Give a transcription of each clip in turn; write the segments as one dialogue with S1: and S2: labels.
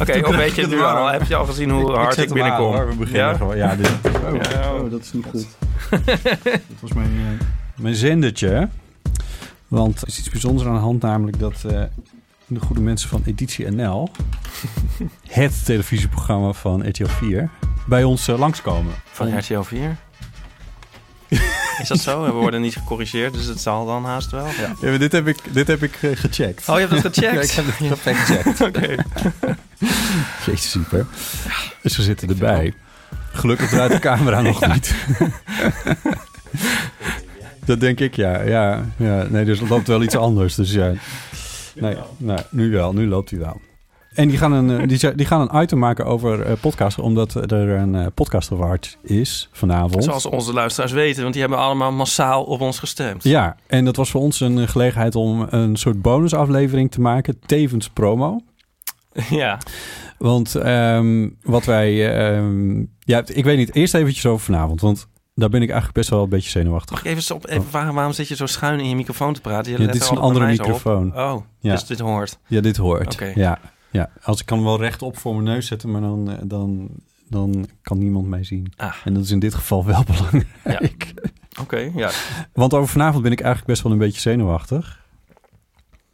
S1: Oké, of weet je het nu al? Heb je al gezien hoe hard ik, binnenkom?
S2: we beginnen
S1: Ja?
S2: gewoon. Ja, dit,
S3: Oh, dat is niet goed. dat was mijn... eh,
S2: mijn zendertje. hè. Want er is iets bijzonders aan de hand, namelijk dat eh, de goede mensen van Editie NL, het televisieprogramma van RTL 4, bij ons eh, langskomen.
S1: Van RTL 4? Is dat zo? We worden niet gecorrigeerd, dus het zal dan haast wel.
S2: Ja, maar dit heb ik, dit heb ik eh, gecheckt.
S1: Oh, je hebt dat
S2: Ja,
S1: gecheckt?
S2: ik heb het perfect gecheckt.
S1: Oké.
S2: Jeetje, super. Dus we zitten erbij. Gelukkig draait de camera nog niet. Dat denk ik, ja. ja, ja. Nee, dus loopt wel iets anders. Dus ja. Nee, nee, nu wel. Nu loopt hij wel. En die gaan een, eh, die, z- die gaan een item maken over eh podcasts, omdat er een eh, podcast award is vanavond.
S1: Zoals onze luisteraars weten, want die hebben allemaal massaal op ons gestemd.
S2: Ja, en dat was voor ons een eh, gelegenheid om een soort bonusaflevering te maken, tevens promo.
S1: Ja.
S2: Want ehm, wat wij. ehm, ja, ik weet niet. Eerst eventjes over vanavond. Want daar ben ik eigenlijk best wel een beetje
S1: Mag
S2: zenuwachtig.
S1: ik even, op, even vragen, waarom zit je zo schuin in je microfoon te praten? Je
S2: Ja,
S1: let
S2: dit is
S1: er
S2: een
S1: altijd bij
S2: andere
S1: mij zo op.
S2: microfoon.
S1: Oh,
S2: Ja.
S1: dus dit hoort.
S2: Ja, dit hoort.
S1: Oké.
S2: Ja, ja. Als ik kan hem wel rechtop voor mijn neus zetten, maar dan, eh, dan, dan kan niemand mij zien.
S1: Ah.
S2: En dat is in dit geval wel belangrijk.
S1: Oké, ja.
S2: Want over vanavond ben ik eigenlijk best wel een beetje zenuwachtig.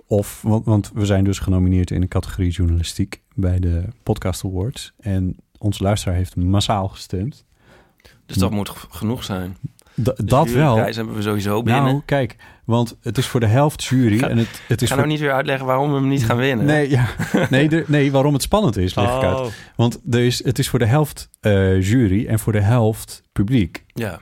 S2: Of, want, want we zijn dus genomineerd in de categorie journalistiek bij de Podcast Awards. En onze luisteraar heeft massaal gestemd.
S1: Dus dat moet g- genoeg zijn.
S2: Da-
S1: Dus
S2: Hm. dat
S1: jullie
S2: wel.
S1: prijs hebben we sowieso binnen.
S2: Nou, kijk, want het is voor de helft jury
S1: Ga-
S2: en het, het
S1: ik
S2: is
S1: ga
S2: voor...
S1: nou niet weer uitleggen waarom we hem niet gaan winnen.
S2: Nee, ja. nee, de- nee, waarom het spannend is, leg ik uit.
S1: Oh.
S2: Want er is, het is voor de helft eh, jury en voor de helft publiek.
S1: Ja.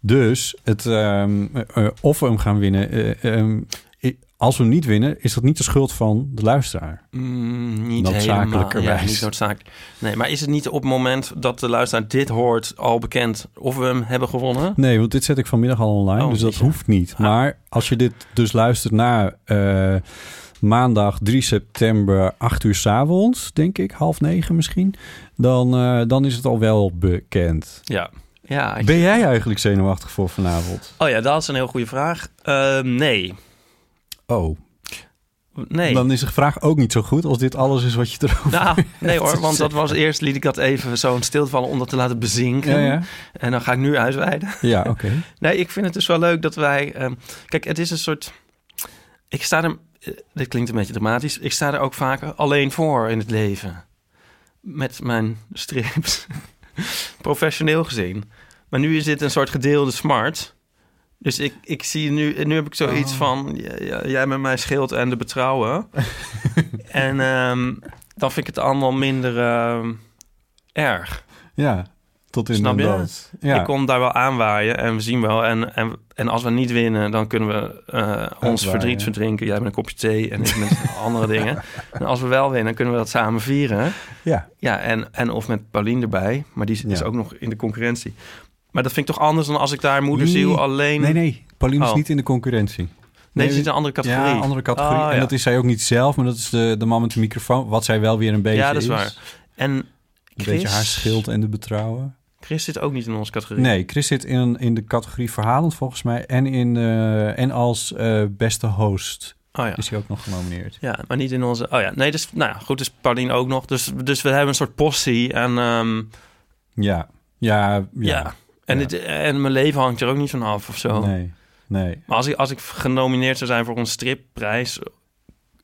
S2: Dus het, ehm, eh, eh, of we hem gaan winnen, eh, ehm, i- als we hem niet winnen, is dat niet de schuld van de luisteraar.
S1: Mm, niet helemaal.
S2: Noodzakelijkerwijs.
S1: Ja, niet noodzakelijk. Nee, maar is het niet op het moment dat de luisteraar dit hoort al bekend of we hem hebben gewonnen?
S2: Nee, want dit zet ik vanmiddag al online,
S1: Oh,
S2: dus dat
S1: ja.
S2: hoeft niet. Maar als je dit dus luistert na eh, maandag 3 september, 8 uur 's avonds, denk ik, half negen misschien, dan, eh, dan is het al wel bekend.
S1: Ja. Ja. ik-
S2: Ben jij eigenlijk zenuwachtig voor vanavond?
S1: Oh ja, dat is een heel goede vraag. Ehm, nee.
S2: Oh,
S1: Nee.
S2: dan is de vraag ook niet zo goed als dit alles is wat je erover...
S1: Nou, nee hoor, want dat was eerst liet ik dat even zo in stilte vallen om dat te laten bezinken.
S2: Ja, ja.
S1: En dan ga ik nu uitweiden.
S2: ja oké.
S1: Nee, ik vind het dus wel leuk dat wij. ehm, kijk, het is een soort. Ik sta er. eh, dit klinkt een beetje dramatisch. Ik sta er ook vaak alleen voor in het leven. Met mijn strips. Professioneel gezien. Maar nu is dit een soort gedeelde smart. Dus ik, ik zie nu. Nu heb ik zoiets van. ja, ja, jij met mij scheelt en de betrouwen. en ehm, dan vind ik het allemaal minder ehm, erg.
S2: Ja, tot in
S1: Snap
S2: de
S1: je?
S2: dood. Ja.
S1: Ik kom daar wel aanwaaien en we zien wel. En, en, en als we niet winnen, dan kunnen we eh, ons
S2: Uitwaaien.
S1: verdriet verdrinken. Jij met een kopje thee en ik met andere dingen. En als we wel winnen, kunnen we dat samen vieren.
S2: Ja.
S1: Ja, en, en of met Paulien erbij. Maar die is- is
S2: Ja.
S1: ook nog in de concurrentie. Maar dat vind ik toch anders dan als ik daar moederziel
S2: Nee.
S1: alleen...
S2: Nee, nee. Pauline
S1: Oh.
S2: is niet in de concurrentie.
S1: Nee, ze zit in een andere categorie.
S2: Ja, andere categorie.
S1: Oh,
S2: En
S1: ja.
S2: dat is zij ook niet zelf, maar dat is de, de man met de microfoon. Wat zij wel weer een beetje
S1: Ja, dat is waar.
S2: Een
S1: En Chris,
S2: beetje haar schild en de betrouwen.
S1: Chris zit ook niet in onze categorie.
S2: Nee, Chris zit in, in de categorie verhalend volgens mij. En, in, eh, en als eh, beste host
S1: Oh ja.
S2: is hij ook nog genomineerd.
S1: Ja, maar niet in onze. Oh ja, nee, dus. Nou ja, goed, dus Paulien ook nog. Dus, dus we hebben een soort postie. En, ehm,
S2: Ja, ja,
S1: ja.
S2: ja.
S1: En,
S2: Ja.
S1: Het, en mijn leven hangt er ook niet van af of zo.
S2: Nee, nee.
S1: Maar als ik, als ik genomineerd zou zijn voor een stripprijs.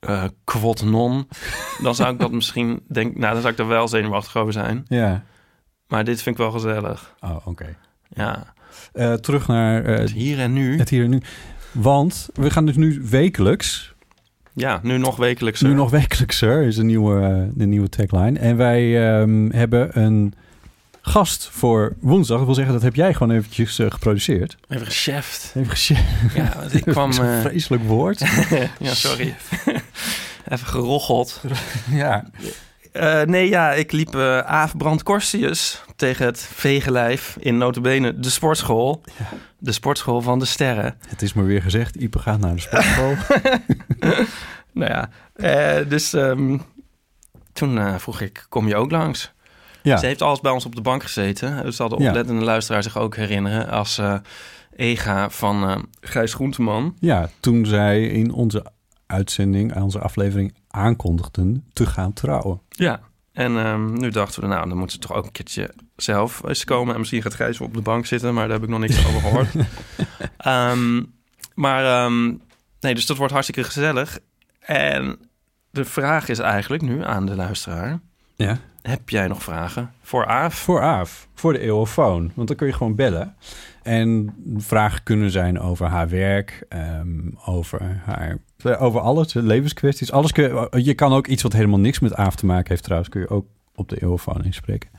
S1: eh quod non. dan zou ik dat misschien. Denk, nou, dan zou ik er wel zenuwachtig over zijn.
S2: Ja.
S1: Maar dit vind ik wel gezellig.
S2: Oh, oké.
S1: Ja.
S2: Eh, terug naar eh,
S1: Dus hier en nu.
S2: het hier en nu. Want we gaan dus nu wekelijks
S1: Ja, nu nog wekelijks.
S2: Nu nog wekelijkser is de nieuwe, eh, de nieuwe tagline. En wij ehm, hebben een gast voor woensdag. Dat wil zeggen, dat heb jij gewoon eventjes eh, geproduceerd.
S1: Even gecheft.
S2: Even gecheckt.
S1: Ja, want ik kwam...
S2: Zo'n
S1: eh,
S2: vreselijk woord.
S1: ja, sorry. Even gerocheld.
S2: ja.
S1: Eh, nee, ja, ik liep eh Aaf Brandkorstius tegen het vegenlijf in notabene de sportschool. De sportschool van de sterren.
S2: Het is maar weer gezegd, Ipe gaat naar de sportschool.
S1: Nou ja, eh, dus ehm, toen eh, vroeg ik, kom je ook langs? Ze
S2: ja,
S1: heeft alles bij ons op de bank gezeten. Dus zal de
S2: Ja.
S1: oplettende luisteraar zich ook herinneren als eh, Ega van eh, Gijs Groenteman.
S2: ja, toen zij in onze uitzending, onze aflevering aankondigden te gaan trouwen.
S1: Ja. En ehm, nu dachten we, nou, dan moet ze toch ook een keertje zelf eens komen. En misschien gaat Gijs wel op de bank zitten, maar daar heb ik nog niks over gehoord. Ehm, maar ehm, nee, dus dat wordt hartstikke gezellig. En de vraag is eigenlijk nu aan de luisteraar.
S2: Ja.
S1: Heb jij nog vragen voor Aaf?
S2: Voor Aaf, voor de eeuwofoon. Want dan kun je gewoon bellen. En vragen kunnen zijn over haar werk, ehm, over haar... Over alles, hè, levenskwesties. Alles kun, je kan ook iets wat helemaal niks met Aaf te maken heeft trouwens... kun je ook op de eeuwofoon inspreken.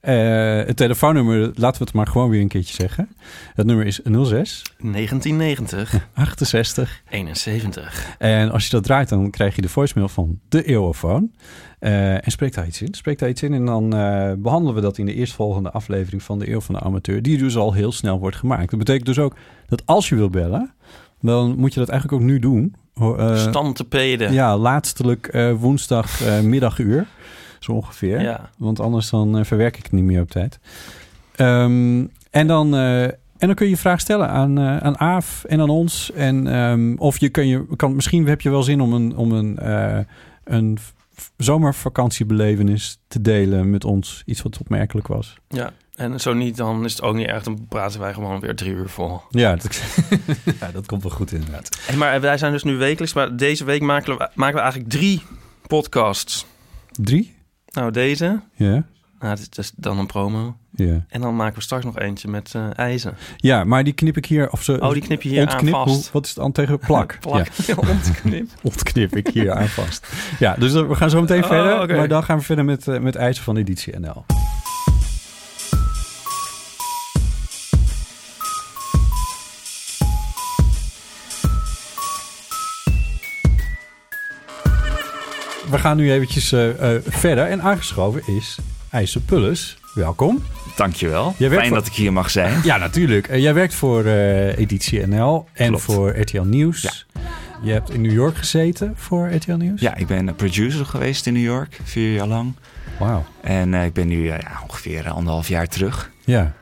S2: Eh, het telefoonnummer, laten we het maar gewoon weer een keertje zeggen. Het nummer is 06
S1: 1990,
S2: 68
S1: 71.
S2: En als je dat draait, dan krijg je de voicemail van de eeuwofoon. Eh, en spreek daar iets in. Spreek daar iets in en dan eh, behandelen we dat in de eerstvolgende aflevering van de Eeuw van de Amateur. Die dus al heel snel wordt gemaakt. Dat betekent dus ook dat als je wil bellen, dan moet je dat eigenlijk ook nu doen. Ho- eh,
S1: Stand te peden.
S2: ja, laatstelijk eh, woensdag eh, middaguur. Zo ongeveer.
S1: Ja.
S2: Want anders dan eh, verwerk ik het niet meer op tijd. Ehm, en, dan, eh, en dan kun je je vraag stellen aan, eh, aan Aaf en aan ons. En, ehm, of je kun je, kan, misschien heb je wel zin om een, om een, eh, een v- zomervakantiebelevenis te delen met ons. Iets wat opmerkelijk was.
S1: Ja, en zo niet, dan is het ook niet erg. Dan praten wij gewoon weer drie uur vol.
S2: Ja, dat, ja, dat komt wel goed inderdaad.
S1: Hey, maar wij zijn dus nu wekelijks, maar deze week maken we, maken we eigenlijk drie podcasts.
S2: Drie?
S1: Nou, deze,
S2: Ja.
S1: nou, dat is- dat is dan een promo.
S2: Ja.
S1: En dan maken we straks nog eentje met eh ijzer.
S2: ja, maar die knip ik hier. Of ze,
S1: Oh, die knip je hier
S2: ontknip,
S1: aan
S2: hoe-
S1: vast.
S2: wat is het dan tegen plak? Ja.
S1: Plak, ontknip.
S2: ontknip ik hier aan vast. Ja, dus we gaan zo meteen
S1: Oh,
S2: verder.
S1: oké.
S2: Maar dan gaan we verder met, eh, met eisen van editie NL. We gaan nu eventjes eh, eh, verder. En aangeschoven is IJssel Pullus. Welkom.
S4: Dankjewel.
S2: Jij werkt
S4: Fijn
S2: voor-
S4: dat ik hier mag zijn.
S2: Ja, natuurlijk. Eh, jij werkt voor eh, Editie NL en
S4: Klopt.
S2: voor RTL Nieuws. Je hebt in New York gezeten voor RTL Nieuws.
S4: Ja, ik ben producer geweest in New York, vier jaar lang.
S2: Wauw.
S4: En eh, ik ben nu eh, ja, ongeveer anderhalf jaar terug.
S2: Ja.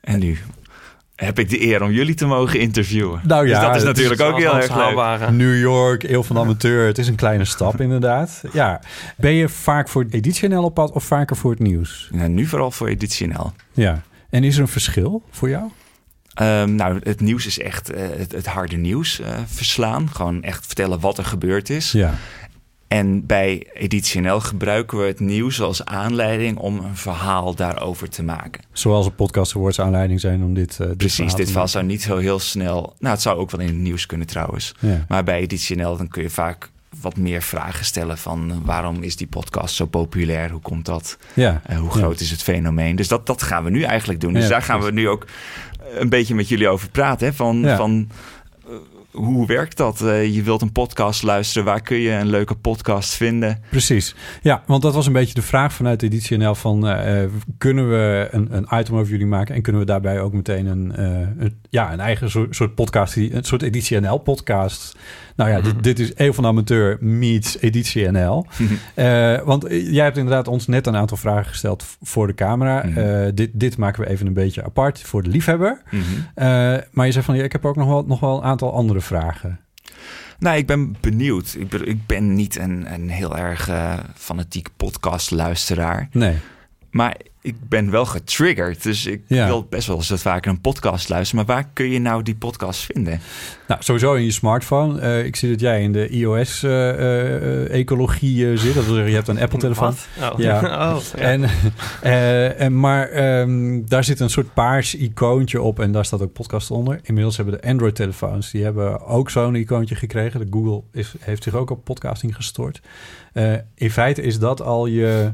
S4: En nu heb ik de eer om jullie te mogen interviewen.
S2: Nou ja,
S4: dus dat is
S2: het
S4: natuurlijk ook heel erg leuk.
S1: haalbare.
S2: New York, eeuw van de amateur. Het is een kleine stap inderdaad. Ja. Ben je vaak voor Editie NL op pad of vaker voor het nieuws?
S4: Nou, nu vooral voor Editie NL.
S2: Ja. En is er een verschil voor jou?
S4: Ehm, nou, het nieuws is echt eh, het, het harde nieuws eh, verslaan. Gewoon echt vertellen wat er gebeurd is.
S2: Ja.
S4: En bij Editie NL gebruiken we het nieuws als aanleiding om een verhaal daarover te maken.
S2: Zoals een podcast awards aanleiding zijn om dit... eh, dit
S4: Precies,
S2: verhaal
S4: dit
S2: te
S4: verhaal zou niet zo heel snel... Nou, het zou ook wel in het nieuws kunnen trouwens.
S2: maken. Ja.
S4: Maar bij Editie NL dan kun je vaak wat meer vragen stellen van... eh, waarom is die podcast zo populair? Hoe komt dat?
S2: ja.
S4: Eh, hoe groot is het fenomeen? Dus dat, dat gaan we nu eigenlijk doen. Dus
S2: Ja,
S4: daar gaan we nu ook eh, een beetje met jullie over praten. Hè? Van,
S2: Ja.
S4: van eh, hoe werkt dat? Eh, je wilt een podcast luisteren. Waar kun je een leuke podcast vinden?
S2: Precies. Ja, want dat was een beetje de vraag vanuit Editie NL van... eh, eh, kunnen we een, een item over jullie maken... en kunnen we daarbij ook meteen een, eh, een- ja, een eigen soort, soort podcast... die- een soort Editie NL podcast. Nou ja,
S4: Mhm.
S2: dit, dit is Eeuw van de Amateur meets Editie NL. Eh, want eh, jij hebt inderdaad ons net een aantal vragen gesteld v- voor de camera.
S4: Mhm.
S2: Eh, dit, dit maken we even een beetje apart voor de liefhebber. Eh, maar je zegt van, ja, ik heb ook nog wel, nog wel een aantal andere vragen.
S4: Nou, ik ben benieuwd. Ik, bedoel, ik ben niet een, een heel erg eh, fanatiek podcastluisteraar.
S2: Nee.
S4: Maar ik ben wel getriggerd. Dus ik
S2: Ja.
S4: wil best wel eens dat vaker een podcast luisteren. Maar waar kun je nou die podcast vinden?
S2: Nou, sowieso in je smartphone. Eh, ik zie dat jij in de eh, iOS-ecologie eh, zit. Dat wil zeggen, je hebt een Apple-telefoon.
S1: Wat? Oh.
S2: Ja.
S1: Oh, ja.
S2: En, eh, en, maar ehm, daar zit een soort paars icoontje op en daar staat ook podcast onder. Inmiddels hebben de Android-telefoons, die hebben ook zo'n icoontje gekregen. De Google is, heeft zich ook op podcasting gestort. Eh, in feite is dat al je,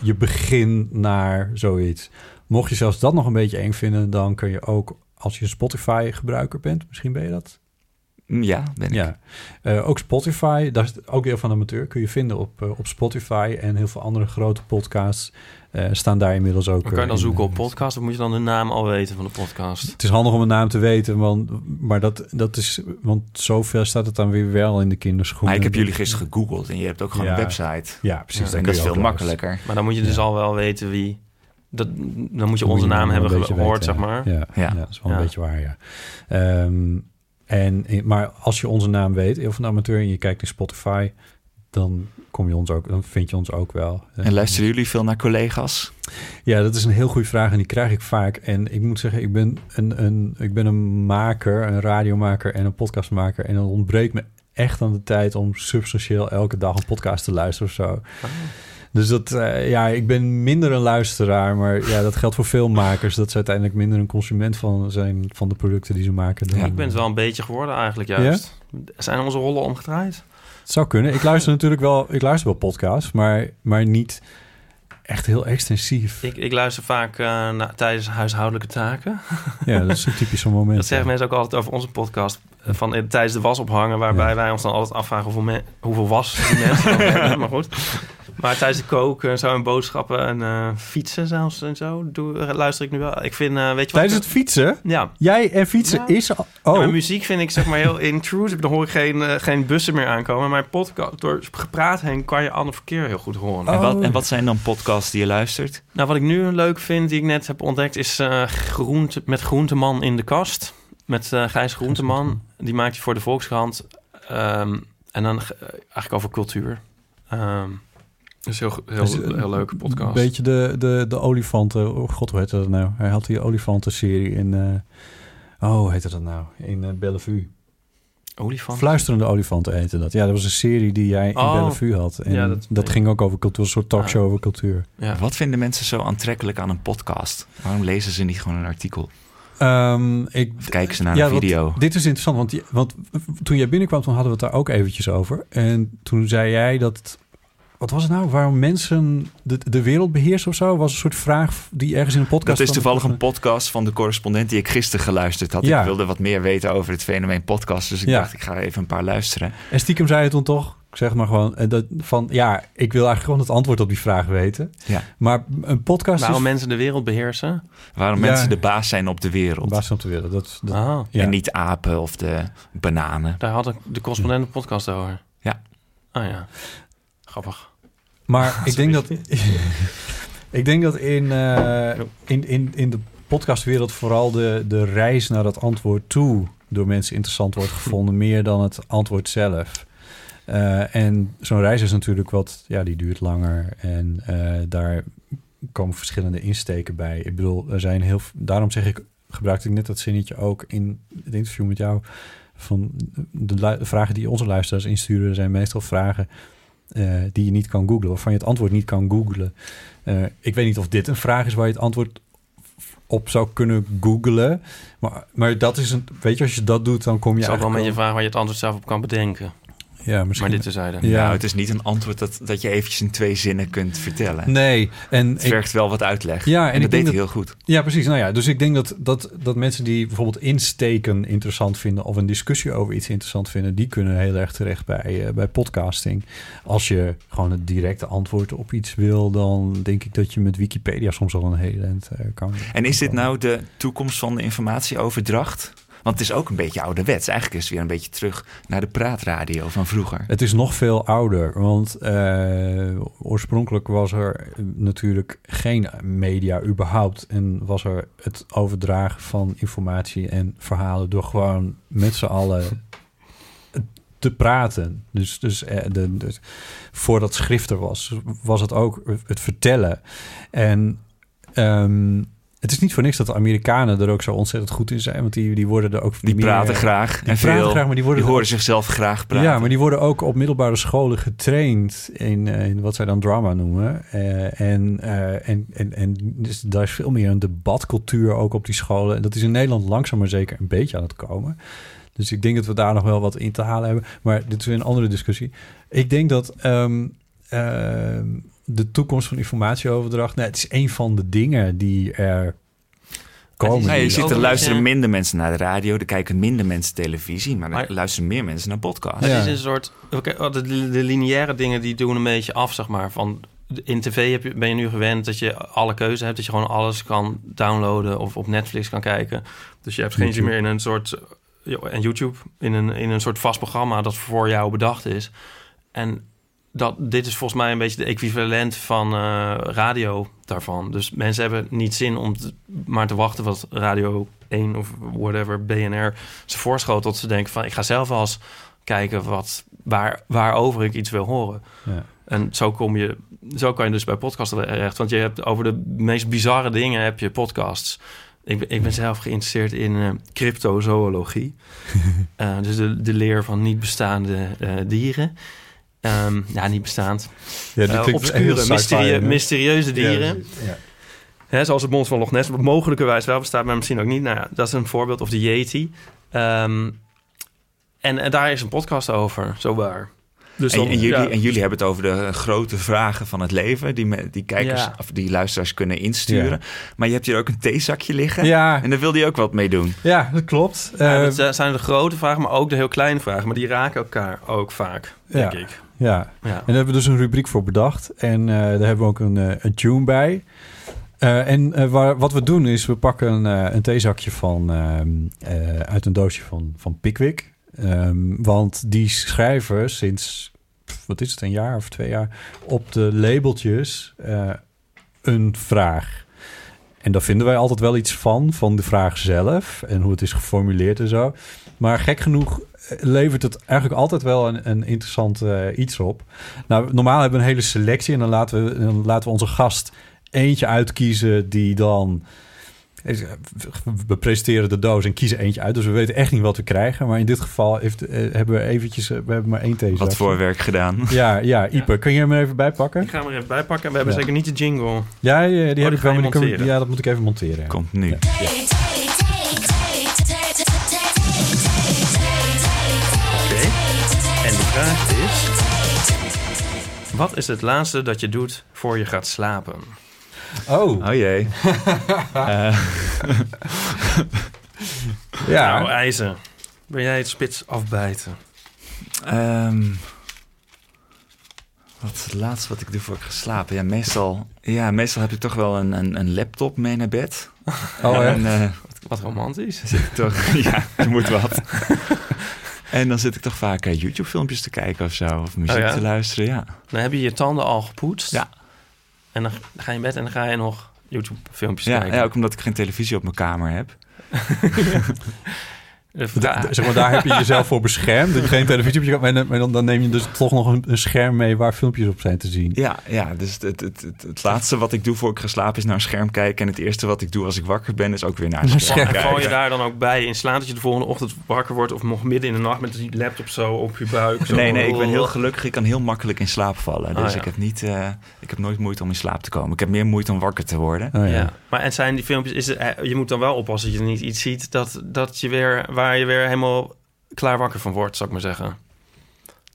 S2: je begin naar zoiets. Mocht je zelfs dat nog een beetje eng vinden, dan kun je ook, als je een Spotify-gebruiker bent, misschien ben je dat,
S4: Hm, Ja, ben ik.
S2: ja, Eh, ook Spotify, daar is het ook heel van amateur, kun je vinden op, eh, op Spotify en heel veel andere grote podcasts eh, staan daar inmiddels ook.
S1: Maar kan je dan
S2: eh, in.
S1: zoeken op podcast of moet je dan de naam al weten van de podcast?
S2: Het is handig om een naam te weten, want, maar dat, dat is, want zover staat het dan weer wel in de kinderschoenen.
S4: Maar ik heb jullie gisteren gegoogeld en je hebt ook gewoon
S2: Ja.
S4: een website.
S2: Ja, precies.
S1: Ja,
S2: daar kun
S4: en dat is
S2: je ook
S4: veel
S2: wel
S4: makkelijker.
S1: Maar dan moet je dus al wel weten wie. Dat, dan moet je
S2: eens-
S1: onze
S2: moet je
S1: naam
S2: wel
S1: hebben
S2: een beetje
S1: gehoord,
S2: weten,
S1: zeg maar.
S2: Ja, ja.
S4: Ja.
S2: dat is wel een
S1: Ja.
S2: beetje waar, ja. Ehm, en, eh, maar als je onze naam weet, heel van amateur, en je kijkt in Spotify, dan, kom je ons ook, dan vind je ons ook wel.
S4: En luisteren jullie veel naar collega's?
S2: Ja, dat is een heel goede vraag en die krijg ik vaak. En ik moet zeggen, ik ben een, een, ik ben een maker, een radiomaker en een podcastmaker. En dan ontbreekt me echt aan de tijd om substantieel elke dag een podcast te luisteren of zo.
S1: Oh.
S2: Dus dat, eh, ja, ik ben minder een luisteraar, maar ja, dat geldt voor veel makers. Dat ze uiteindelijk minder een consument van zijn van de producten die ze maken. dan-
S4: Ja,
S1: Ik ben het wel een beetje geworden eigenlijk juist. Zijn onze rollen omgedraaid?
S2: Het zou kunnen. Ik luister natuurlijk wel, ik luister wel podcasts, maar, maar niet echt heel extensief.
S1: Ik, ik luister vaak eh, na- tijdens huishoudelijke taken.
S2: Ja, dat is een typisch zo'n moment.
S1: Dat zeggen
S2: ja.
S1: mensen ook altijd over onze podcast. eh, Van, eh, tijdens de was ophangen, waarbij wij ons dan altijd afvragen hoeveel, me- hoeveel was die mensen dan hebben. Maar goed. Maar tijdens de koken en zo en boodschappen en eh, fietsen zelfs en zo doe, luister ik nu wel. Ik vind, eh, weet je wat?
S2: Tijdens het fietsen?
S1: Ja.
S2: Jij en fietsen
S1: Ja.
S2: is al...
S1: Ja,
S2: Oh,
S1: maar muziek vind ik zeg maar heel intrusive. Dan hoor ik geen, eh, geen bussen meer aankomen. Maar podcast, door gepraat heen kan je ander verkeer heel goed horen.
S2: Oh.
S4: En, wat, en wat zijn dan podcasts die je luistert?
S1: Nou, wat ik nu leuk vind, die ik net heb ontdekt, is eh, groente, met Groenteman in de kast. Met eh Gijs Groenteman. Die maakt hij voor de Volkskrant. Ehm, en dan eh, eigenlijk over cultuur. Ehm dat is een heel,
S2: Dus,
S1: heel,
S2: eh,
S1: heel, leuke podcast.
S2: Beetje de, de, de olifanten. Oh god, hoe heette dat nou? Hij had die olifanten-serie in. eh, oh, hoe heette dat nou? In eh, Bellevue.
S1: Olifant.
S2: Fluisterende olifanten heette dat. Ja, dat was een serie die jij in
S1: Oh.
S2: Bellevue had. En
S1: Ja,
S2: dat,
S1: dat-
S2: ging ook over cultuur, een soort talkshow
S1: Ah.
S2: over cultuur.
S1: ja.
S4: Wat vinden mensen zo aantrekkelijk aan een podcast? Waarom lezen ze niet gewoon een artikel?
S2: Ehm, ik,
S4: Of kijken ze naar
S2: Ja,
S4: een
S2: want
S4: video?
S2: Dit is interessant, want, je- want toen jij binnenkwam, toen hadden we het daar ook eventjes over. En toen zei jij dat. Wat was het nou? Waarom mensen de, de wereld beheersen of zo? Was een soort vraag die ergens in een podcast.
S4: Dat is
S2: kwam.
S4: toevallig een podcast van de correspondent die ik gisteren geluisterd had.
S2: Ja.
S4: Ik wilde wat meer weten over het fenomeen podcast. Dus ik
S2: Ja.
S4: dacht, ik ga even een paar luisteren.
S2: En stiekem zei je toen toch, ik zeg maar gewoon, eh, dat, van ja, ik wil eigenlijk gewoon het antwoord op die vraag weten.
S4: Ja.
S2: Maar een podcast
S1: Waarom
S2: is...
S1: mensen de wereld beheersen.
S4: Waarom
S2: Ja.
S4: mensen de baas zijn op de wereld.
S2: Baas om te willen. Dat, dat-
S1: Ah,
S2: ja.
S4: En niet apen of de bananen.
S1: daar had ik de correspondent een podcast over.
S4: Ja.
S1: Ah ja. Grappig.
S2: Maar ik denk dat... ik denk dat in, eh, in, in, in de podcastwereld vooral de, de reis naar dat antwoord toe door mensen interessant wordt gevonden, meer dan het antwoord zelf. Eh, en zo'n reis is natuurlijk wat, ja, die duurt langer en eh, daar komen verschillende insteken bij. Ik bedoel, er zijn heel, v- daarom zeg ik, gebruikte ik net dat zinnetje ook in het interview met jou. Van de, lu- de vragen die onze luisteraars insturen, zijn meestal vragen eh, die je niet kan googlen, waarvan je het antwoord niet kan googlen. Eh, ik weet niet of dit een vraag is waar je het antwoord op zou kunnen googlen. Maar, maar dat is een. Weet je, als je dat doet, dan kom je.
S1: ik zal wel met je
S2: eigenlijk
S1: vragen waar je het antwoord zelf op kan bedenken.
S2: al- Ja, misschien.
S1: Maar dit is zijde.
S2: Ja.
S4: Nou, het is niet een antwoord dat, dat je eventjes in twee zinnen kunt vertellen.
S2: Nee, en
S4: Het
S2: ik,
S4: vergt wel wat uitleg.
S2: Ja, en
S4: en,
S2: ik
S4: dat
S2: denk
S4: deed hij
S2: dat-
S4: heel goed.
S2: Ja, precies. Nou ja, dus ik denk dat, dat, dat mensen die bijvoorbeeld insteken interessant vinden of een discussie over iets interessant vinden, die kunnen heel erg terecht bij, eh, bij podcasting. Als je gewoon het directe antwoord op iets wil, dan denk ik dat je met Wikipedia soms al een hele eind eh, kan.
S4: En is dit nou de toekomst van de informatieoverdracht? Want het is ook een beetje ouderwets. Eigenlijk is het weer een beetje terug naar de praatradio van vroeger.
S2: Het is nog veel ouder, want eh, oorspronkelijk was er eh, natuurlijk geen media überhaupt. En was er het overdragen van informatie en verhalen door gewoon met z'n allen te praten. Dus, dus eh, de, de, voordat schrift er was, was het ook het vertellen. En ehm, het is niet voor niks dat de Amerikanen er ook zo ontzettend goed in zijn. Want die, die worden er ook...
S4: Die
S2: meer-
S4: praten graag. en
S2: praten
S4: veel.
S2: graag, maar die worden er
S4: horen zichzelf graag praten.
S2: Ja, maar die worden ook op middelbare scholen getraind in, eh, in wat zij dan drama noemen. Eh, en, eh, en, en, en dus daar is veel meer een debatcultuur ook op die scholen. En dat is in Nederland langzaam maar zeker een beetje aan het komen. Dus ik denk dat we daar nog wel wat in te halen hebben. Maar dit is weer een andere discussie. Ik denk dat ehm, ehm, de toekomst van informatieoverdracht... Nou, het is een van de dingen die er komen.
S4: Nee, Nou, je
S1: Die
S4: ziet er
S1: ook-
S4: luisteren
S1: ja.
S4: minder mensen naar de radio, er kijken minder mensen televisie, maar er
S1: Maar-
S4: luisteren meer mensen naar podcasts.
S1: Het
S2: Ja.
S1: is een soort. oké, oh, de, de lineaire dingen die doen een beetje af, zeg maar. Van, in tv heb je, ben je nu gewend dat je alle keuze hebt. Dat je gewoon alles kan downloaden of op Netflix kan kijken. Dus je hebt geen zin
S2: YouTube.
S1: meer in een soort. ja, En YouTube, in een, in een soort vast programma dat voor jou bedacht is. En dat, dit is volgens mij een beetje de equivalent van eh, radio daarvan. Dus mensen hebben niet zin om te- maar te wachten wat Radio 1 of whatever, BNR, ze voorschot tot ze denken van... ik ga zelf wel eens kijken wat, waar, waarover ik iets wil horen.
S2: Ja.
S1: En zo, kom je, zo kan je dus bij podcasts terecht. Want je hebt over de meest bizarre dingen heb je podcasts. Ik ben, ik ben zelf geïnteresseerd in eh, cryptozoologie. Eh, dus de, de leer van niet bestaande eh, dieren. Ehm, ja, niet bestaand.
S2: Ja,
S1: Eh, obscure, mysterie- mysterieuze dieren. Hè, zoals het monster van Loch Ness, wat mogelijkerwijs wel bestaat, maar misschien ook niet. Nou ja, dat is een voorbeeld. Of de Yeti. Ehm, en, en daar is een podcast over, zo waar. Dus
S4: En,
S1: dan-
S4: en jullie,
S1: ja.
S4: en jullie hebben het over de eh, grote vragen van het leven, die, me- die, kijkers,
S1: Ja.
S4: of die luisteraars kunnen insturen. Maar je hebt hier ook een theezakje liggen
S2: Ja,
S4: en daar wilde je ook wat mee doen.
S2: ja, dat klopt.
S1: Ja,
S2: Eh,
S1: dat eh, zijn de grote vragen, maar ook de heel kleine vragen. Maar die raken elkaar ook vaak,
S2: Ja.
S1: denk ik.
S2: ja.
S1: Ja.
S2: En daar hebben we dus een rubriek voor bedacht. En eh, daar hebben we ook een, eh, een tune bij. Eh, en eh, waar, wat we doen is, we pakken een, eh, een theezakje van, ehm, eh, uit een doosje van, van Pickwick. Ehm, want die schrijven sinds, pff, wat is het, een jaar of twee jaar... op de labeltjes eh, een vraag. En daar vinden wij altijd wel iets van, van de vraag zelf... en hoe het is geformuleerd en zo. Maar gek genoeg eh, levert het eigenlijk altijd wel een, een interessant eh, iets op. Nou, normaal hebben we een hele selectie en dan laten we, dan laten we onze gast eentje uitkiezen die dan. eh, We presenteren de doos en kiezen eentje uit. Dus we weten echt niet wat we krijgen. Maar in dit geval heeft, eh, hebben we eventjes... eh, We hebben maar één theezakje.
S4: Wat voor werk gedaan.
S2: Ja, ja. Ieper, kun je hem er even bij pakken?
S1: Ik ga hem er even bij pakken. We hebben
S2: Ja.
S1: zeker niet de jingle.
S2: Ja, ja, die heb
S1: die
S2: ik
S1: ga
S2: wel.
S1: je
S2: maar die kunnen we-
S1: monteren.
S2: ja, dat moet ik even monteren.
S4: Komt nu.
S1: Oké. En de vraag is... Wat is het laatste dat je doet voor je gaat slapen?
S2: Oh,
S4: Oh jee.
S2: ja.
S1: Nou, IJzer. Wil jij het spits afbijten?
S4: Ehm, wat is het laatste wat ik doe voor ik ga slapen? Ja, meestal, ja, meestal heb ik toch wel een, een, een laptop mee naar bed.
S2: oh,
S4: en,
S2: echt?
S4: eh,
S1: Wat romantisch.
S4: zit ik toch... ja, je moet wat. en dan zit ik toch vaak eh, YouTube-filmpjes te kijken of zo. Of muziek
S1: Oh ja?
S4: te luisteren, ja.
S1: Dan heb je je tanden al gepoetst.
S4: Ja.
S1: En dan ga je in bed en dan ga je nog YouTube-filmpjes
S4: Ja,
S1: kijken.
S4: ja, ook omdat ik geen televisie op mijn kamer heb.
S1: De vraag-
S2: Da- Ah. zeg maar, daar heb je jezelf voor beschermd. Dat je geen televisie op je kan. En, maar dan, dan neem je dus toch nog een, een scherm mee waar filmpjes op zijn te zien.
S4: Ja, ja dus het, het, het, het laatste wat ik doe voor ik ga slapen is naar een scherm kijken. En het eerste wat ik doe als ik wakker ben is ook weer naar een scherm
S1: En val je
S4: kijken.
S1: daar dan ook bij in slaat dat je de volgende ochtend wakker wordt of nog midden in de nacht met die laptop zo op je buik? Zo.
S4: Nee, nee, ik ben heel gelukkig. Ik kan heel makkelijk in slaap vallen. Dus
S1: Ah, ja.
S4: ik, heb niet, eh, ik heb nooit moeite om in slaap te komen. Ik heb meer moeite om wakker te worden.
S2: Oh,
S1: Ja. Maar en zijn die filmpjes, is het, eh, je moet dan wel oppassen dat je niet iets ziet dat, dat je weer, waar je weer helemaal klaar wakker van wordt, zou ik maar zeggen.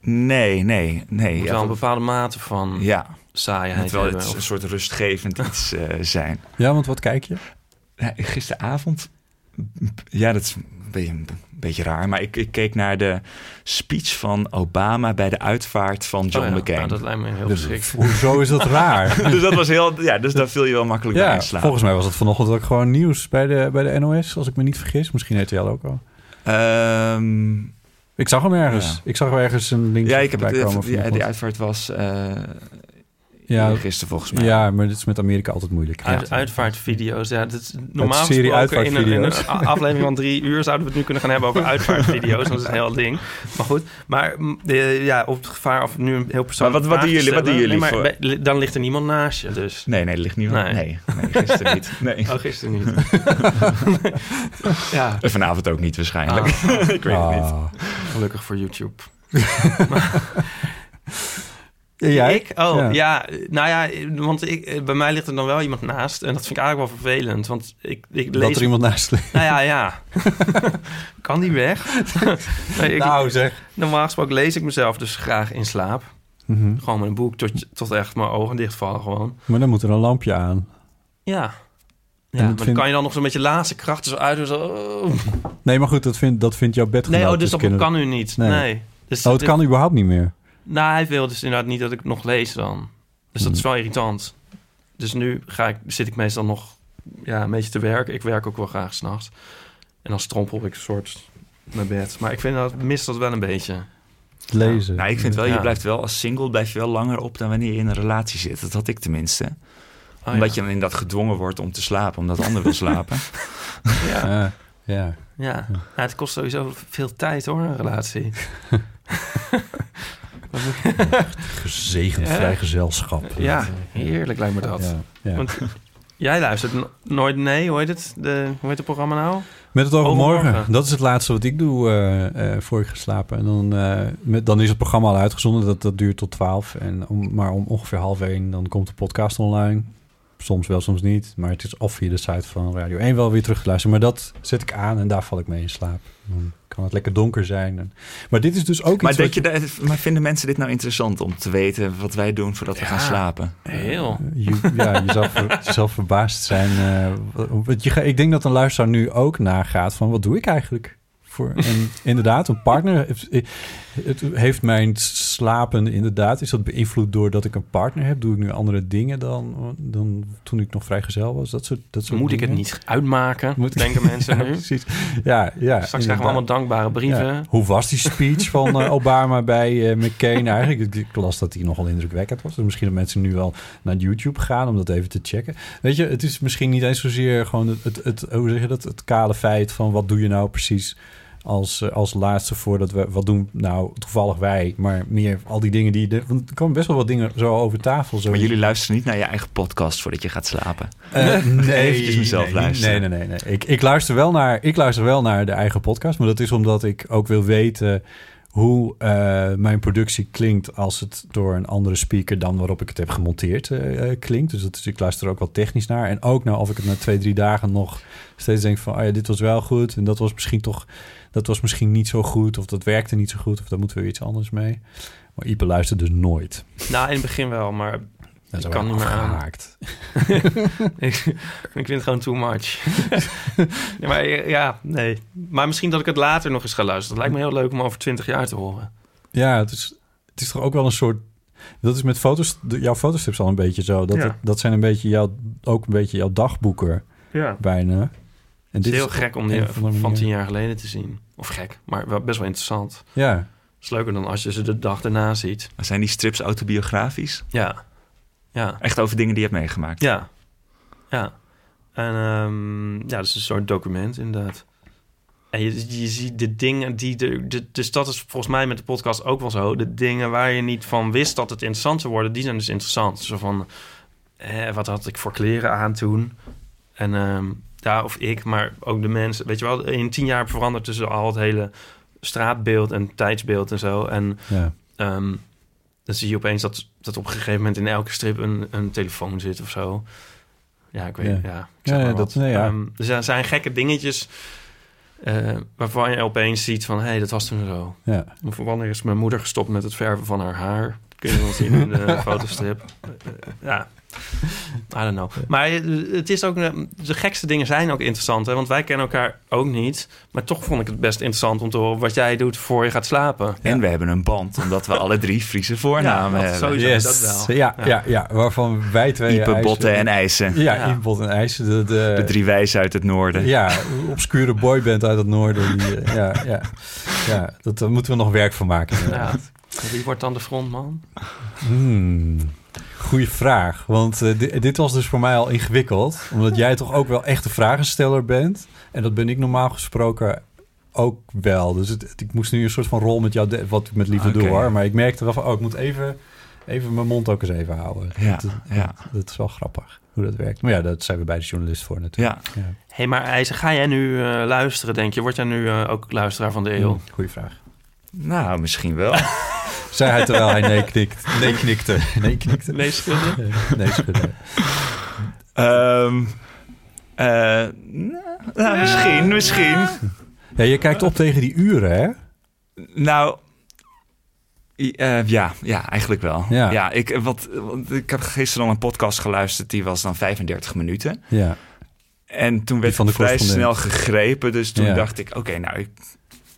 S4: Nee, nee,
S1: Je
S4: nee.
S1: moet wel een bepaalde mate van
S4: ja, het
S1: saaiheid
S4: moet wel
S1: hebben.
S4: iets-
S1: of-
S4: een soort rustgevend iets eh, zijn.
S2: Ja, want wat kijk je?
S4: Ja, Gisteravond, ja, dat is een beetje, een beetje raar, maar ik, ik keek naar de speech van Obama bij de uitvaart van John
S1: Oh ja,
S4: McCain.
S1: nou, dat lijkt me heel
S2: Dus
S1: geschikt.
S2: Hoezo is dat raar?
S4: dus dat was heel, ja, dus daar viel je wel makkelijk bij
S2: ja,
S4: in slaap.
S2: volgens mij was het vanochtend ook gewoon nieuws bij de, bij de NOS, als ik me niet vergis. Misschien RTL ook al.
S4: Ehm,
S2: Ik zag hem ergens.
S4: Ja.
S2: Ik zag hem ergens een linkje
S4: ja, ik heb het,
S2: voorbij komen.
S4: het-
S2: van
S4: ja,
S2: iemand.
S4: die uitvaart was eh,
S2: Ja.
S4: ja. gisteren volgens mij.
S2: Ja, maar dit is met Amerika altijd moeilijk.
S1: Uit, uitvaartvideo's, ja. Dat is normaal
S2: serie
S1: gesproken in een, in een
S2: uitvaartvideo's.
S1: a- aflevering van drie uur zouden we het nu kunnen gaan hebben over uitvaartvideo's. Dat is een heel ding. Maar goed, maar mm, eh, ja, op het gevaar of nu een heel persoonlijk
S4: Maar wat- wat
S1: vraag
S4: doen jullie-
S1: te
S4: wat doen
S1: stellen.
S4: jullie
S1: Nee, maar bij- Dan ligt er niemand naast je, dus.
S4: Nee, nee, dat ligt niet.
S1: Nee.
S4: Nee, nee, gisteren niet. Nee.
S1: Oh, gisteren niet. ja,
S4: En Vanavond ook niet waarschijnlijk.
S1: Ah.
S4: ik weet
S2: Ah,
S4: het niet.
S1: gelukkig voor YouTube.
S2: Jij?
S1: Ik? Oh,
S2: Ja.
S1: ja. Nou ja, want ik, eh, bij mij ligt er dan wel iemand naast. En dat vind ik eigenlijk wel vervelend. Want ik, ik
S2: Dat
S1: lees...
S2: er iemand naast ligt.
S1: Nou ja, ja. kan die weg? Nee, ik-
S2: Nou zeg.
S1: Normaal gesproken lees ik mezelf dus graag in slaap. Gewoon met een boek tot, tot echt mijn ogen dichtvallen gewoon.
S2: Mhm. Maar dan moet er een lampje aan.
S1: Ja.
S2: dat
S1: Ja, maar dan
S2: vind-
S1: kan je dan nog zo'n beetje laatste krachten zo uit. doen, Zo, oh.
S2: Nee, maar goed, dat vindt dat vindt jouw bedgenoot.
S1: Nee, oh, dus dat
S2: kunnen-
S1: kan u niet.
S2: Nee.
S1: Nee. Dus
S2: Oh, het
S1: dit-
S2: kan überhaupt niet meer.
S1: Nou, hij wil dus inderdaad niet dat ik nog lees dan. Dus dat is
S2: Mm.
S1: wel irritant. Dus nu ga ik, zit ik meestal nog ja, een beetje te werken. Ik werk ook wel graag s'nachts. En dan strompel ik een soort naar bed. Maar ik vind dat, mis dat wel een beetje.
S2: Lezen.
S4: Nou, ik vind wel, je
S1: Ja.
S4: blijft wel als single blijf je wel langer op dan wanneer je in een relatie zit. Dat had ik tenminste.
S1: Oh,
S4: omdat
S1: ja.
S4: je dan inderdaad gedwongen wordt om te slapen, omdat de ander wil slapen.
S1: Ja,
S2: Ja, ja.
S1: ja. Nou, het kost sowieso veel tijd hoor, een relatie.
S2: Gezegend
S1: Ja.
S2: vrijgezelschap.
S1: Ja, heerlijk lijkt me dat.
S2: Ja, ja.
S1: Want- Jij luistert no- nooit nee, hoe heet het? De, hoe heet het programma nou?
S2: Met het oog op
S1: Overmorgen.
S2: morgen. Dat is het laatste wat ik doe eh, eh, voor ik ga slapen. En dan, eh, met, dan is het programma al uitgezonden. Dat, dat duurt tot 12. En om, maar om ongeveer half 1 dan komt de podcast online. Soms wel, soms niet. Maar het is of via de site van Radio 1 wel weer terug te luisteren. Maar dat zet ik aan en daar val ik mee in slaap. Dan kan het lekker donker zijn. En- maar dit is dus ook
S4: maar,
S2: iets
S4: denk
S2: wat
S4: je, dat- maar vinden mensen dit nou interessant om te weten wat wij doen voordat we
S1: Ja.
S4: gaan slapen?
S1: Heel.
S2: Eh, Je- ja, je zal, ver- je zal verbaasd zijn. eh, want je, ga- ik denk dat een luisteraar nu ook nagaat van wat doe ik eigenlijk? Voor, en inderdaad, een partner. heeft- eh, Het heeft mijn slapen inderdaad. Is dat beïnvloed doordat ik een partner heb? Doe ik nu andere dingen dan, dan toen ik nog vrijgezel was? Dat soort, dat soort
S1: Dus Moet ik het
S2: dingen.
S1: niet uitmaken,
S2: Moet-
S1: denken mensen
S2: Ja,
S1: nu.
S2: precies. Ja, ja,
S1: Straks krijgen we allemaal dankbare brieven.
S2: ja. Hoe was die speech van eh, Obama bij eh, McCain eigenlijk? Ik, ik las dat die nogal indrukwekkend was. Dus misschien dat mensen nu wel naar YouTube gaan om dat even te checken. Weet je, het is misschien niet eens zozeer gewoon het, het, het- hoe zeg je dat, het kale feit van wat doe je nou precies als, eh, als laatste voordat we, wat doen nou toevallig wij, maar meer al die dingen die, je de, want er komen best wel wat dingen zo over tafel. Zo.
S4: Maar jullie luisteren niet naar je eigen podcast voordat je gaat slapen.
S2: Eh, nee,
S4: Eventjes mezelf
S2: nee,
S4: luisteren.
S2: Nee, nee, nee. nee. Ik, ik, luister wel naar, ik luister wel naar de eigen podcast. Maar dat is omdat ik ook wil weten hoe eh, mijn productie klinkt... als het door een andere speaker dan waarop ik het heb gemonteerd eh, eh, klinkt. Dus dat is, ik luister er ook wel technisch naar. En ook naar of ik het na twee, drie dagen nog steeds denk van... ah ja, dit was wel goed en dat was misschien toch... dat was misschien niet zo goed of dat werkte niet zo goed... of daar moeten we weer iets anders mee. Maar Ipe luistert dus nooit.
S1: Nou, in het begin wel, maar
S2: Dat
S1: Ik kan niet meer aan.
S2: afgehaakt.
S1: ik, ik vind het gewoon too much. nee, maar ja, nee. Maar misschien dat ik het later nog eens ga luisteren. Dat lijkt me heel leuk om over twintig jaar te horen.
S2: Ja, het is, het is toch ook wel een soort. Dat is met foto's, de- jouw fotostrips al een beetje zo. Dat,
S1: Ja.
S2: het- dat zijn een beetje jouw, ook een beetje jouw dagboeken
S1: Ja.
S2: bijna. En
S1: Het is heel
S2: toch
S1: gek om
S2: een
S1: die
S2: of andere
S1: van
S2: manier.
S1: tien jaar geleden te zien. Of gek, maar wel, best wel interessant.
S2: Ja,
S1: is leuker dan als je ze de dag daarna ziet.
S4: Maar Zijn die strips autobiografisch?
S1: Ja. Ja.
S4: Echt over dingen die je hebt meegemaakt?
S1: Ja. Ja. En ehm, ja, dat is een soort document inderdaad. En je, je ziet de dingen die... De, de, dus dat is volgens mij met de podcast ook wel zo. De dingen waar je niet van wist dat het interessant zou worden... die zijn dus interessant. Zo van, hè, wat had ik voor kleren aan toen? En ehm ja, of ik, maar ook de mensen. Weet je wel, in tien jaar verandert dus al het hele straatbeeld en tijdsbeeld en zo. En
S2: ja.
S1: Ehm, dan zie je opeens dat, dat op een gegeven moment in elke strip een, een telefoon zit of zo. Ja, ik weet
S2: Ja.
S1: ja. ik zeg
S2: Ja,
S1: maar
S2: dat-
S1: wat.
S2: nee, ja.
S1: Ehm, dus er zijn gekke dingetjes eh, waarvan je opeens ziet van... hé, hey, dat was toen zo.
S2: ja.
S1: Of wanneer is mijn moeder gestopt met het verven van haar haar? Kun je wel zien in de fotostrip. Eh, ja, I don't know. Maar het is ook, eh, de gekste dingen zijn ook interessant. Hè? Want wij kennen elkaar ook niet. Maar toch vond ik het best interessant om te horen wat jij doet voor je gaat slapen.
S4: En we hebben een band, omdat we alle drie Friese voornamen
S1: Ja, dat is
S4: hebben.
S1: sowieso, dat wel.
S2: Ja, ja. Ja, waarvan wij twee.
S4: Iepen,
S2: eisen-
S4: botten en ijzen.
S2: Ja,
S1: Ja.
S2: Iepen, botten en ijzen. De, de,
S4: De drie wijzen uit het noorden.
S2: Ja, obscure boyband uit het noorden. die, eh, ja, ja, ja, dat, daar moeten we nog werk van maken.
S1: Ja. Wie wordt dan de frontman?
S2: Hmm. Goeie vraag. Want eh, di- dit was dus voor mij al ingewikkeld. Omdat jij toch ook wel echt de vragensteller bent. En dat ben ik normaal gesproken ook wel. Dus het, het- ik moest nu een soort van rol met jou... de- wat ik met liefde
S4: Oké.
S2: doe hoor. Maar ik merkte wel van... Oh, ik moet even, even mijn mond ook eens even houden.
S4: Ja,
S2: dat,
S4: ja.
S2: Dat, dat is wel grappig hoe dat werkt. Maar ja, dat zijn we bij de journalist voor natuurlijk.
S4: Ja,
S1: Hé, hey, maar IJzer, ga jij nu eh, luisteren, denk je? Word jij nu eh, ook luisteraar van de eeuw?
S4: Hmm.
S2: Hm, Goeie vraag.
S4: nou, misschien wel.
S2: Zei hij terwijl hij nee, knikt, nee knikte. Nee knikte.
S1: Nee, schudden.
S2: Nee schudde.
S4: Ehm, eh, nou, nou, misschien, misschien.
S2: Ja, je kijkt op tegen die uren, hè?
S4: Nou, i- eh, ja, ja, eigenlijk wel.
S2: Ja.
S4: Ja, ik, eh, wat, want ik heb gisteren al een podcast geluisterd, die was dan 35 minuten.
S2: Ja.
S4: En toen werd
S2: van
S4: ik
S2: de
S4: vrij snel
S2: correspondent.
S4: gegrepen, dus toen
S2: Ja.
S4: dacht ik, oké, nou, ik,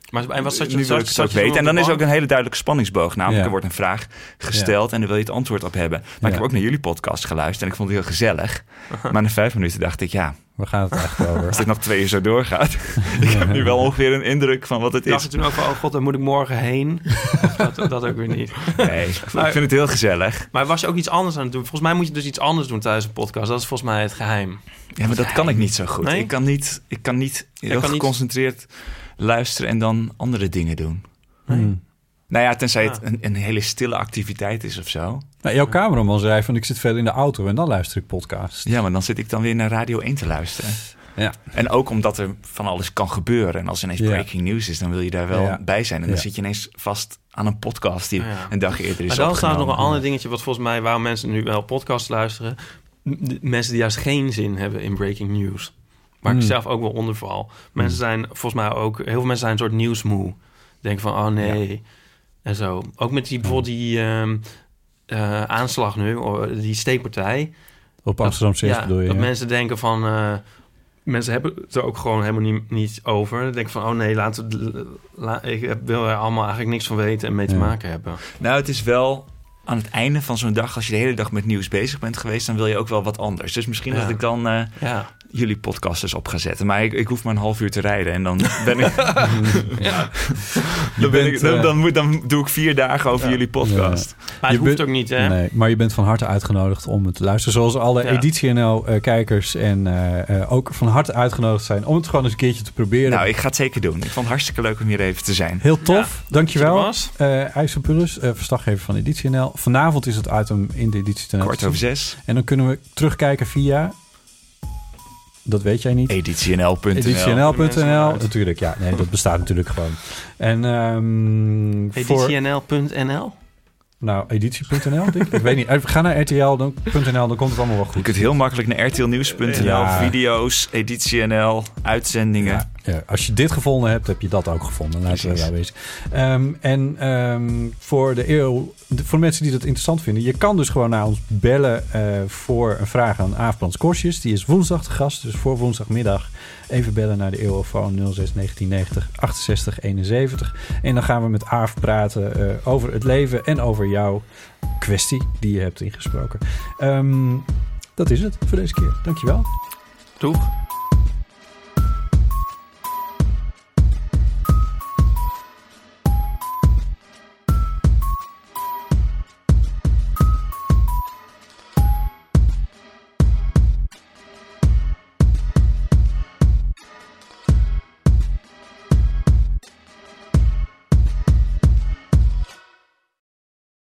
S1: Maar en wat zat je,
S4: nu wil
S1: zat,
S4: ik het
S1: zat
S4: ook
S1: je toen
S4: weten. En
S1: op
S4: dan
S1: de
S4: is er ook
S1: bank?
S4: een hele duidelijke spanningsboog, namelijk
S2: Ja.
S4: er wordt een vraag gesteld en daar wil je het antwoord op hebben. Maar ik
S2: Ja.
S4: heb ook naar jullie podcast geluisterd en ik vond het heel gezelf. Maar na vijf minuten dacht ik, ja,
S2: Waar gaat het echt over?
S4: als dit nog twee uur zo doorgaat, ik heb nu wel ongeveer een indruk van wat het
S1: dacht
S4: is.
S1: je toen ook van, oh god, dan moet ik morgen heen. Of dat, dat ook weer niet.
S4: Nee, ik vind het heel gezellig.
S1: Maar was je ook iets anders aan het doen? Volgens mij moet je dus iets anders doen tijdens een podcast. Dat is volgens mij het geheim.
S4: Ja, maar dat kan ik niet zo goed.
S1: Nee?
S4: Ik kan niet, ik kan niet heel
S1: kan niet-
S4: geconcentreerd luisteren en dan andere dingen doen.
S2: Hmm.
S4: Nou ja, tenzij
S1: Ah.
S4: het een, een hele stille activiteit is of zo.
S2: Nou, jouw cameraman zei van ik zit verder in de auto en dan luister ik podcast.
S4: Ja, maar dan zit ik dan weer naar Radio 1 te luisteren.
S2: Ja.
S4: En ook omdat er van alles kan gebeuren. En als ineens
S2: Ja.
S4: breaking news is, dan wil je daar wel
S2: Ja.
S4: bij zijn. En dan
S2: Ja.
S4: zit je ineens vast aan een podcast die
S1: Ah, Ja.
S4: een dag eerder
S1: Maar
S4: is
S1: dan staat nog
S4: opgenomen.
S1: een ander dingetje, wat volgens mij waarom mensen nu wel podcasts luisteren. M- de- Mensen die juist geen zin hebben in breaking news. Waar ik
S2: Hmm.
S1: zelf ook wel onder val. Mensen zijn volgens mij ook, heel veel mensen zijn een soort nieuwsmoe. Denken van, oh nee. En zo. Ook met die, bijvoorbeeld die ehm, eh, aanslag nu, oh, die steekpartij.
S2: Op Amsterdam
S1: Dat-
S2: 6
S1: Ah, ja,
S2: bedoel je?
S1: Dat
S2: ja.
S1: mensen denken van... eh, mensen hebben het er ook gewoon helemaal niet, niet over. Dan denken van, oh nee, laten we, la- ik heb- wil er allemaal eigenlijk niks van weten en mee te
S2: Ja.
S1: maken hebben.
S4: Nou, het is wel aan het einde van zo'n dag, als je de hele dag met nieuws bezig bent geweest, dan wil je ook wel wat anders. Dus misschien
S1: Ja.
S4: dat ik dan eh,
S1: Ja.
S4: jullie podcast eens op ga zetten. Maar ik, ik hoef maar een half uur te rijden en dan ben ik.
S2: Je
S4: Dan, ben ik
S2: bent,
S4: dan,
S2: eh,
S4: dan, moet, dan doe ik vier dagen over jullie podcast.
S1: Maar het
S2: Je
S1: hoeft
S2: bent-
S1: ook niet, hè?
S2: Nee, maar je bent van harte uitgenodigd om het te luisteren. Zoals alle
S1: Ja.
S2: editie NL-kijkers en eh, eh, ook van harte uitgenodigd zijn om het gewoon eens een keertje te proberen.
S4: Nou, ik ga het zeker doen. Ik vond het hartstikke leuk om hier even te zijn.
S2: Heel tof,
S1: Dat je er
S2: dankjewel.
S1: was.
S2: Eh IJsselpullus, eh verslaggever van Editie NL. Vanavond is het item in de Editie NL.
S4: Kwart over zes,
S2: En dan kunnen we terugkijken via... Dat weet jij
S1: E
S2: niet.
S4: editienl.nl.
S1: Mensen
S2: Editionl.nl.
S1: eruit.
S2: Natuurlijk, ja. Nee, dat bestaat natuurlijk gewoon. En ehm voor...
S1: Editienl.nl?
S2: Nou, editie.nl, denk ik. ik weet niet. Eh, Ga naar rtl.nl, dan, .nl, dan komt het allemaal wel
S4: Je
S2: goed.
S4: kunt heel makkelijk naar rtlnieuws.nl,
S2: Ja.
S4: video's, editienl, uitzendingen.
S2: Ja, ja, als je dit gevonden hebt, heb je dat ook gevonden. Laten we
S4: Precies.
S2: wel wezen. Ehm, en ehm, voor de eeuw, de- voor mensen die dat interessant vinden, je kan dus gewoon naar ons bellen eh, voor een vraag aan Aaf Brans Korsjes. Die is woensdag te gast, dus voor woensdagmiddag. Even bellen naar de eeuwofoon 06 1990 68 71. En dan gaan we met Aaf praten eh, over het leven en over jouw kwestie die je hebt ingesproken. Ehm, dat is het voor deze keer. Dankjewel.
S1: Toch?